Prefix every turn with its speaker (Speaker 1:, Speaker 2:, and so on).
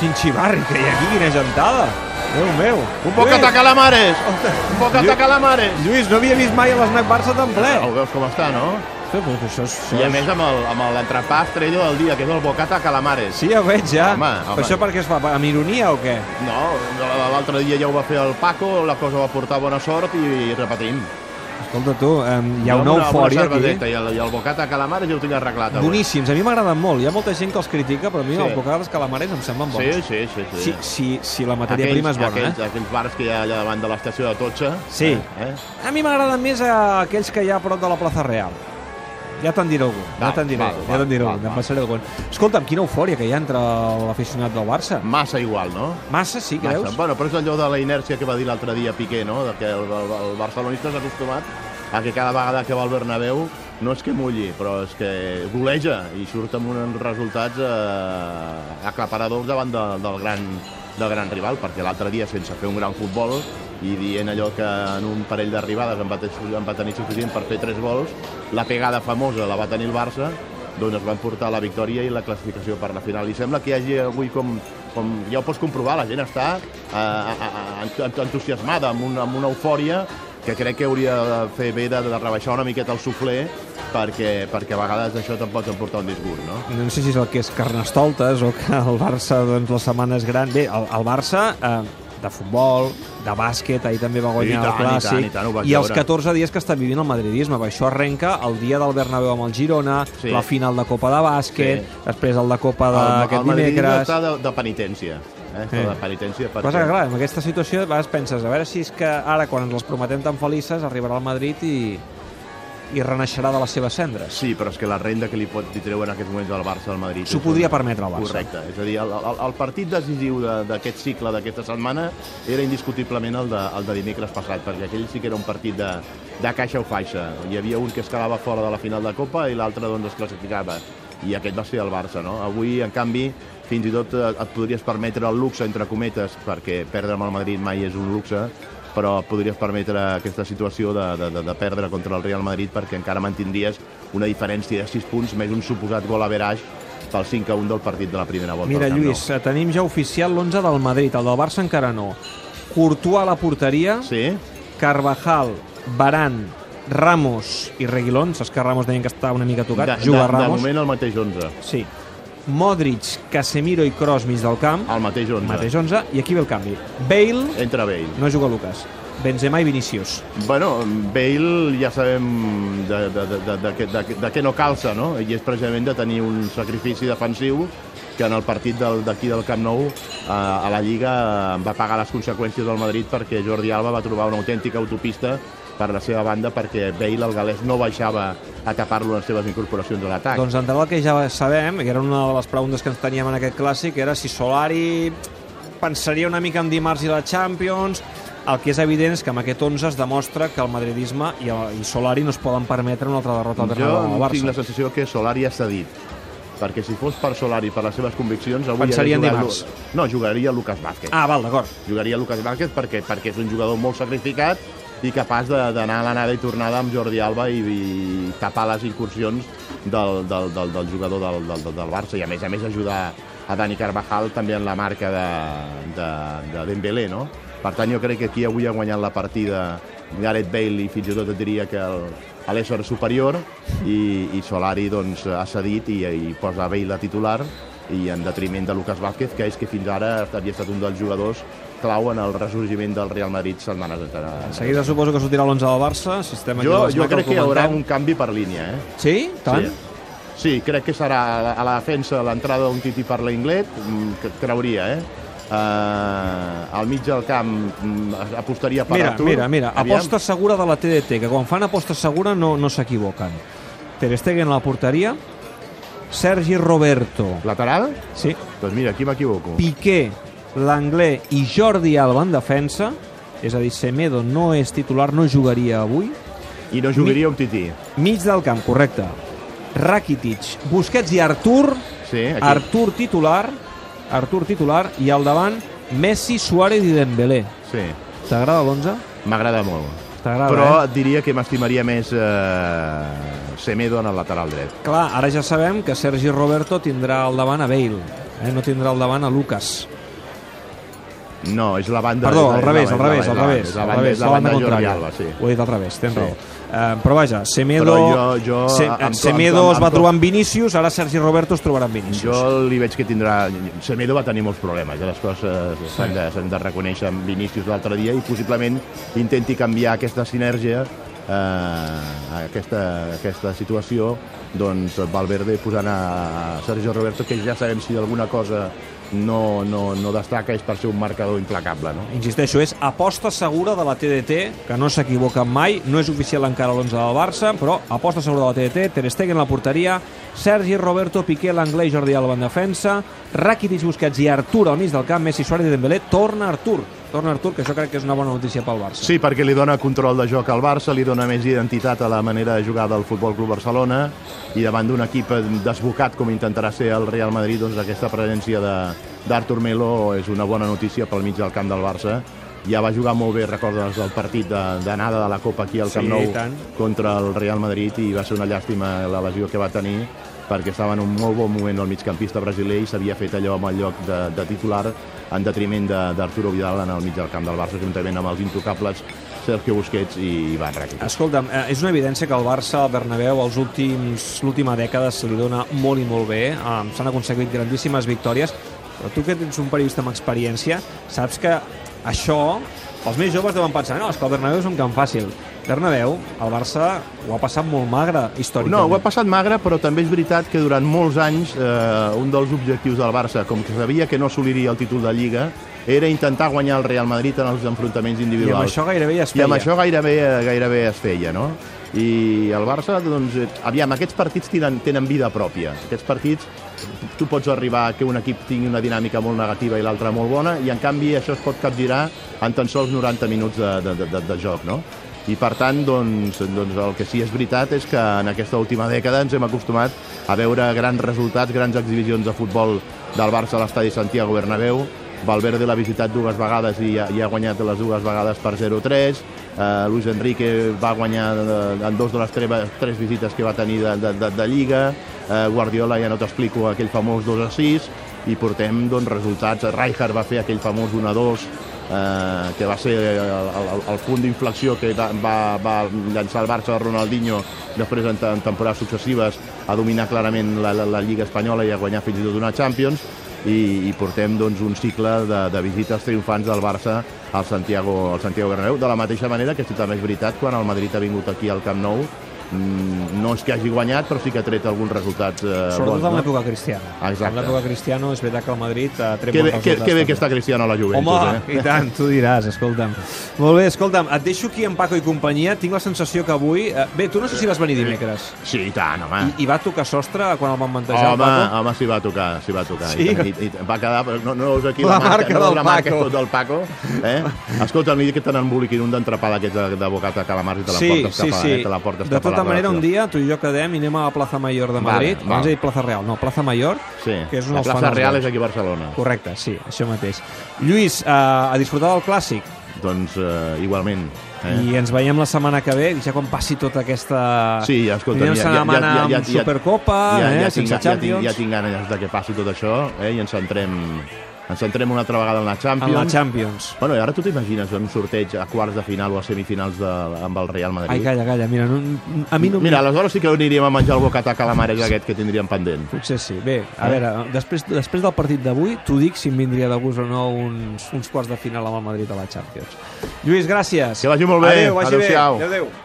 Speaker 1: Quin xivarri que hi ha aquí, quina gentada! Déu meu!
Speaker 2: Un boca de
Speaker 1: Lluís,
Speaker 2: calamares! Un boca de
Speaker 1: Lluís.
Speaker 2: calamares!
Speaker 1: Lluís, no havia vist mai l'Snac Barça tan ple!
Speaker 2: Ho veus com està, no?
Speaker 1: Ostres, però això és...
Speaker 2: I a més amb el- amb l'entrepà estrella del dia, que és el bocata calamares.
Speaker 1: Sí, ja ho veig, ja.
Speaker 2: Home, home.
Speaker 1: Però això per què es fa? Per- Amb ironia o què?
Speaker 2: No, l'altre dia ja ho va fer el Paco, la cosa va portar bona sort i repetim.
Speaker 1: Escolta, tu, em, hi ha
Speaker 2: Jo amb
Speaker 1: una eufòria
Speaker 2: amb una cerveseta
Speaker 1: aquí.
Speaker 2: I el, i el bocata calamares ja ho tinc arreglat. avui.
Speaker 1: Boníssims, a mi m'agraden molt. Hi ha molta gent que els critica, però a mi
Speaker 2: Sí.
Speaker 1: sí. el bocata dels calamares em semblen
Speaker 2: Sí,
Speaker 1: bons.
Speaker 2: sí, sí. sí.
Speaker 1: Si, si, si la matèria prima és bona, eh?
Speaker 2: aquells, aquells bars que hi ha allà davant de l'estació de Totxa.
Speaker 1: Sí.
Speaker 2: Eh? eh?
Speaker 1: eh? A mi m'agraden més eh, aquells que hi ha a prop de la plaça Real. Ja te'n diré algun, ja
Speaker 2: Val,
Speaker 1: te'n diré
Speaker 2: val,
Speaker 1: algun,
Speaker 2: val,
Speaker 1: ja te'n diré
Speaker 2: val,
Speaker 1: algun,
Speaker 2: val.
Speaker 1: em passaré algun. Escolta'm, quina eufòria que hi ha entre l'aficionat del Barça.
Speaker 2: Massa igual, no?
Speaker 1: Massa, sí, creus?
Speaker 2: Massa. Bueno, però és allò de la inèrcia que va dir l'altre dia Piqué, no? De que el, el, el barcelonista és acostumat a que cada vegada que va al Bernabéu no és que mulli, però és que goleja i surt amb uns resultats eh, aclaparadors davant de, del, gran, del gran rival, perquè l'altre dia, sense fer un gran futbol i dient allò que en un parell d'arribades en, va te- en va tenir suficient per fer tres gols, la pegada famosa la va tenir el Barça, doncs es van portar la victòria i la classificació per la final. I sembla que hi hagi avui com, com ja ho pots comprovar, la gent està eh, a- a- ent- entusiasmada, amb una, amb una eufòria que crec que hauria de fer bé de, de rebaixar una miqueta el suflé perquè, perquè a vegades això te'n pot emportar un disgust, no?
Speaker 1: no sé si és el que és Carnestoltes o que el Barça, doncs, la setmana és gran. Bé, el, el Barça, eh, de futbol, de bàsquet, ahir també va guanyar
Speaker 2: I tant,
Speaker 1: el Clàssic.
Speaker 2: i tant, i tant, ho vaig
Speaker 1: I els
Speaker 2: veure.
Speaker 1: 14 dies que està vivint el madridisme. Perquè això arrenca el dia del Bernabéu amb el Girona,
Speaker 2: Sí.
Speaker 1: sí. la final de Copa de Bàsquet,
Speaker 2: Sí.
Speaker 1: sí. després el de Copa
Speaker 2: El, el
Speaker 1: d'aquest
Speaker 2: Madrid
Speaker 1: Ah, dimecres...
Speaker 2: està de, de penitència. Eh? Està
Speaker 1: Sí.
Speaker 2: de penitència perquè...
Speaker 1: Passa que, clar, en aquesta situació a vegades penses a veure si és que ara, quan ens les prometem tan felices, arribarà al Madrid i, i renaixerà de les seves cendres.
Speaker 2: Sí, però és que la renda que li pot li treu en aquests moments al Barça al Madrid...
Speaker 1: S'ho
Speaker 2: és
Speaker 1: podria
Speaker 2: una-
Speaker 1: permetre el Barça.
Speaker 2: Correcte, és a dir, el, el, el partit decisiu de- d'aquest cicle, d'aquesta setmana, era indiscutiblement el de, el de dimecres passat, perquè aquell sí que era un partit de, de caixa o faixa. Hi havia un que es quedava fora de la final de Copa i l'altre doncs, es classificava, i aquest va ser el Barça. No? Avui, en canvi, fins i tot eh, et podries permetre el luxe, entre cometes, perquè perdre amb el Madrid mai és un luxe, però et podries permetre aquesta situació de, de, de, de perdre contra el Real Madrid perquè encara mantindries una diferència de 6 punts més un suposat gol a Verage pel 5 a 1 del partit de la primera volta.
Speaker 1: Mira,
Speaker 2: al Camp Nou.
Speaker 1: Lluís, eh, tenim ja oficial l'11 del Madrid, el del Barça encara no. Courtois a la porteria, sí.
Speaker 2: Sí?
Speaker 1: Carvajal, Baran, Ramos i Reguilón. Saps que Ramos deien que està una mica
Speaker 2: De,
Speaker 1: tocat?
Speaker 2: de,
Speaker 1: Juga
Speaker 2: de
Speaker 1: Ramos.
Speaker 2: moment el mateix 11.
Speaker 1: Sí. Modric, Casemiro i Kroos mig del camp.
Speaker 2: El mateix 11.
Speaker 1: Mateix 11. I aquí ve el canvi. Bale,
Speaker 2: Entra Bale.
Speaker 1: no juga Lucas. Benzema i Vinicius.
Speaker 2: Bueno, Bale ja sabem de, de, de, de, de, què- de, de què no calça, no? I és precisament de tenir un sacrifici defensiu que en el partit del- d'aquí del, Camp Nou eh, a la Lliga en va pagar les conseqüències del Madrid perquè Jordi Alba va trobar una autèntica autopista per la seva banda perquè Bale, el galès, no baixava a tapar-lo les seves incorporacions a l'atac.
Speaker 1: Doncs entrarà el que ja sabem, que era una de les preguntes que ens teníem en aquest clàssic, era si Solari pensaria una mica en dimarts i la Champions... El que és evident és que amb aquest 11 es demostra que el madridisme i, el, i Solari no es poden permetre una altra derrota al
Speaker 2: Jo
Speaker 1: Bernabéu al
Speaker 2: tinc
Speaker 1: Barça.
Speaker 2: la sensació que Solari ha cedit perquè si fos per Solari, per les seves conviccions, avui
Speaker 1: Pensaria en
Speaker 2: hagués jugat
Speaker 1: dimarts.
Speaker 2: Lu- No, jugaria Lucas Vázquez.
Speaker 1: Ah, val, d'acord.
Speaker 2: Jugaria Lucas Vázquez perquè, perquè és un jugador molt sacrificat i capaç de- d'anar a l'anada i tornada amb Jordi Alba i, i tapar les incursions del, del, del, del jugador del, del, del Barça i, a més a més, ajudar a Dani Carvajal també en la marca de, de, de Dembélé, no? Per tant, jo crec que aquí avui ha guanyat la partida Gareth Bale i fins i tot et diria que el, a l'ésser superior i, i Solari doncs, ha cedit i, i posa Bale a titular i en detriment de Lucas Vázquez, que és que fins ara havia estat un dels jugadors clau en el ressorgiment del Real Madrid setmanes
Speaker 1: De
Speaker 2: enrere.
Speaker 1: seguida suposo que sortirà l'11 del Barça, sistema
Speaker 2: Jo,
Speaker 1: aquí de
Speaker 2: jo
Speaker 1: l'esmac,
Speaker 2: crec
Speaker 1: el
Speaker 2: que hi haurà un
Speaker 1: comentem.
Speaker 2: canvi per línia, eh?
Speaker 1: Sí? Tant? Sí.
Speaker 2: Sí, crec que serà a la- a la defensa l'entrada d'un Titi per l'Inglet, mm, que creuria, eh? Uh, al mig del camp mm, apostaria per
Speaker 1: Mira,
Speaker 2: Artur.
Speaker 1: mira, mira,
Speaker 2: Aviam.
Speaker 1: aposta segura de la TDT, que quan fan aposta segura no, no s'equivoquen. Ter Stegen a la porteria, Sergi Roberto,
Speaker 2: Lateral?
Speaker 1: sí,
Speaker 2: Doncs mira, aquí m'equivoco.
Speaker 1: Piqué, l'anglès i Jordi Alba en defensa, és a dir, Semedo no és titular, no jugaria avui.
Speaker 2: I no jugaria un Titi.
Speaker 1: Mig del camp, correcte. Rakitic, Busquets i Artur,
Speaker 2: Sí, aquí.
Speaker 1: Artur titular, Artur titular, i al davant Messi, Suárez i Dembélé.
Speaker 2: Sí,
Speaker 1: T'agrada l'11?
Speaker 2: m'agrada molt.
Speaker 1: T'agrada,
Speaker 2: Però
Speaker 1: eh?
Speaker 2: et diria que m'estimaria més eh, Semedo en el lateral dret.
Speaker 1: Clar, ara ja sabem que Sergi Roberto tindrà al davant a Bale. Eh? No tindrà al davant a Lucas.
Speaker 2: No, és la banda...
Speaker 1: Perdó, al
Speaker 2: és la- és la
Speaker 1: revés, al
Speaker 2: banda-
Speaker 1: revés, al
Speaker 2: és la-
Speaker 1: revés. al
Speaker 2: És la banda,
Speaker 1: revés,
Speaker 2: és la banda de Jordi
Speaker 1: contrària.
Speaker 2: Alba, sí.
Speaker 1: Ho he dit al revés, tens
Speaker 2: Sí.
Speaker 1: raó. Eh, però vaja, Semedo,
Speaker 2: Però jo- jo,
Speaker 1: Se,
Speaker 2: amb- amb-
Speaker 1: Semedo
Speaker 2: amb-
Speaker 1: es va
Speaker 2: amb-
Speaker 1: trobar amb Vinícius, ara Sergi Roberto es trobarà amb Vinícius.
Speaker 2: Jo li veig que tindrà... Semedo va tenir molts problemes, eh? les coses s'han de, s'han de reconèixer amb Vinícius l'altre dia i possiblement intenti canviar aquesta sinergia, eh, aquesta, aquesta situació, doncs Valverde posant a Sergio Roberto, que ja sabem si alguna cosa no, no, no destaca és per ser un marcador implacable, no?
Speaker 1: Insisteixo, és aposta segura de la TDT, que no s'equivoca mai, no és oficial encara l'11 del Barça, però aposta segura de la TDT, Ter Stegen a la porteria, Sergi, Roberto, Piqué, Langlais, Jordi Alba en defensa, Rakitic, Busquets i Artur al mig del camp, Messi, Suárez i Dembélé, torna Artur, torna Artur, que això crec que és una bona notícia pel Barça.
Speaker 2: Sí, perquè li dona control de joc al Barça, li dona més identitat a la manera de jugar del Futbol Club Barcelona i davant d'un equip eh, desbocat com intentarà ser el Real Madrid, doncs aquesta presència de- d'Artur Melo és una bona notícia pel mig del camp del Barça. Ja va jugar molt bé, recordes, el partit de- d'anada de, de la Copa aquí al
Speaker 1: Sí,
Speaker 2: Camp
Speaker 1: i
Speaker 2: Nou
Speaker 1: tant.
Speaker 2: contra el Real Madrid i va ser una llàstima la lesió que va tenir perquè estava en un molt bon moment el migcampista brasiler i s'havia fet allò amb el lloc de, de titular en detriment de- d'Arturo de, Vidal en el mig del camp del Barça juntament amb els intocables Sergio Busquets i Ivan Rakitic.
Speaker 1: Escolta'm, eh, és una evidència que el Barça al Bernabéu els últims l'última dècada se li dona molt i molt bé, eh, s'han aconseguit grandíssimes victòries, però tu que ets un periodista amb experiència, saps que això, els més joves deuen pensar, no, és que el Bernabéu és un camp fàcil. Bernabéu, el Barça ho ha passat molt magre històricament.
Speaker 2: No, ho ha passat magre, però també és veritat que durant molts anys eh, un dels objectius del Barça, com que sabia que no assoliria el títol de Lliga, era intentar guanyar el Real Madrid en els enfrontaments
Speaker 1: I amb
Speaker 2: individuals.
Speaker 1: això gairebé ja es
Speaker 2: I
Speaker 1: feia.
Speaker 2: amb això gairebé, gairebé es feia, no? I el Barça, doncs, eh, aviam, aquests partits tenen, tenen vida pròpia. Aquests partits, tu pots arribar a que un equip tingui una dinàmica molt negativa i l'altra molt bona, i en canvi això es pot capgirar en tan sols 90 minuts de, de, de, de, de joc, no? I per tant, doncs, doncs el que sí és veritat és que en aquesta última dècada ens hem acostumat a veure grans resultats, grans exhibicions de futbol del Barça a l'estadi Santiago Bernabéu, Valverde l'ha visitat dues vegades i ha, i ha guanyat les dues vegades per 0-3. Uh, Luis Enrique va guanyar eh, en dos de les treva, tres visites que va tenir de, de, de, de Lliga. Uh, Guardiola, ja no t'explico, aquell famós 2-6. I portem doncs, resultats. Rijkaard va fer aquell famós 1-2 eh, que va ser el, el, el punt d'inflexió que va, va, va llançar el Barça de Ronaldinho després en, en temporades successives a dominar clarament la, la, la Lliga Espanyola i a guanyar fins i tot una Champions i, i portem doncs, un cicle de, de visites triomfants del Barça al Santiago, al Santiago Bernabéu, de la mateixa manera que sí, també és veritat, quan el Madrid ha vingut aquí al Camp Nou, mm, no és que hagi guanyat, però sí que ha tret alguns resultats eh,
Speaker 1: Sobretot
Speaker 2: bons.
Speaker 1: en
Speaker 2: No?
Speaker 1: l'època cristiana.
Speaker 2: Exacte.
Speaker 1: En l'època cristiana és veritat que el Madrid eh, ha tret
Speaker 2: Que bé,
Speaker 1: bons
Speaker 2: que, que bé
Speaker 1: resultats
Speaker 2: que està Cristiano a la Juventus.
Speaker 1: Home,
Speaker 2: eh?
Speaker 1: i tant, tu diràs, escolta'm. Molt bé, escolta'm, et deixo aquí amb Paco i companyia. Tinc la sensació que avui... eh, Bé, tu no sé si vas venir dimecres.
Speaker 2: eh? Sí, i tant, home.
Speaker 1: I, i va tocar sostre quan el van mantejar
Speaker 2: Home,
Speaker 1: el Paco?
Speaker 2: home, s'hi va tocar, s'hi va tocar.
Speaker 1: Sí?
Speaker 2: I, tant, i, i va quedar, però no, no veus aquí
Speaker 1: La
Speaker 2: la,
Speaker 1: marca
Speaker 2: no,
Speaker 1: del
Speaker 2: la marca
Speaker 1: Paco.
Speaker 2: és tot del Paco. Eh? Escolta, a mi que te n'emboliquin un d'entrapar d'aquests de, de bocata calamars i te la
Speaker 1: Sí,
Speaker 2: portes
Speaker 1: sí,
Speaker 2: cap a,
Speaker 1: sí.
Speaker 2: eh? te la portes
Speaker 1: De
Speaker 2: cap a
Speaker 1: tota
Speaker 2: la
Speaker 1: manera, un
Speaker 2: redacció.
Speaker 1: dia tu i jo quedem i anem a la Plaza Mayor de
Speaker 2: Vale,
Speaker 1: Madrid. Abans
Speaker 2: val.
Speaker 1: he dit Plaza Real, no, Plaza Mayor,
Speaker 2: Sí,
Speaker 1: que és on
Speaker 2: la
Speaker 1: els fan
Speaker 2: plaça
Speaker 1: els
Speaker 2: Real
Speaker 1: gols.
Speaker 2: és aquí a Barcelona.
Speaker 1: Correcte, sí, això mateix. Lluís, eh, a disfrutar del clàssic.
Speaker 2: Doncs eh, igualment. Eh?
Speaker 1: I ens veiem la setmana que ve, ja quan passi tota aquesta...
Speaker 2: Sí, ja, escolta,
Speaker 1: Tindrem setmana amb Supercopa,
Speaker 2: ja,
Speaker 1: eh,
Speaker 2: ja, tinc,
Speaker 1: sense
Speaker 2: ja, tinc,
Speaker 1: Champions.
Speaker 2: ja tinc ganes de que passi tot això eh, i ens centrem, ens centrem una altra vegada en la
Speaker 1: en
Speaker 2: Champions.
Speaker 1: la Champions.
Speaker 2: Bueno, i ara tu t'imagines un sorteig a quarts de final o a semifinals de, amb el Real Madrid?
Speaker 1: Ai, calla, calla, mira, no, a mi no...
Speaker 2: Mira, aleshores sí que aniríem a menjar el bocata calamares aquest que tindríem pendent.
Speaker 1: Potser sí. Bé,
Speaker 2: Eh?
Speaker 1: a veure, després, després del partit d'avui t'ho dic si em vindria de gust o no uns, uns quarts de final amb el Madrid a la Champions. Lluís, gràcies.
Speaker 2: Que vagi molt bé.
Speaker 1: Adéu, vagi bé.
Speaker 2: Adéu-siau.
Speaker 1: Adéu, adéu.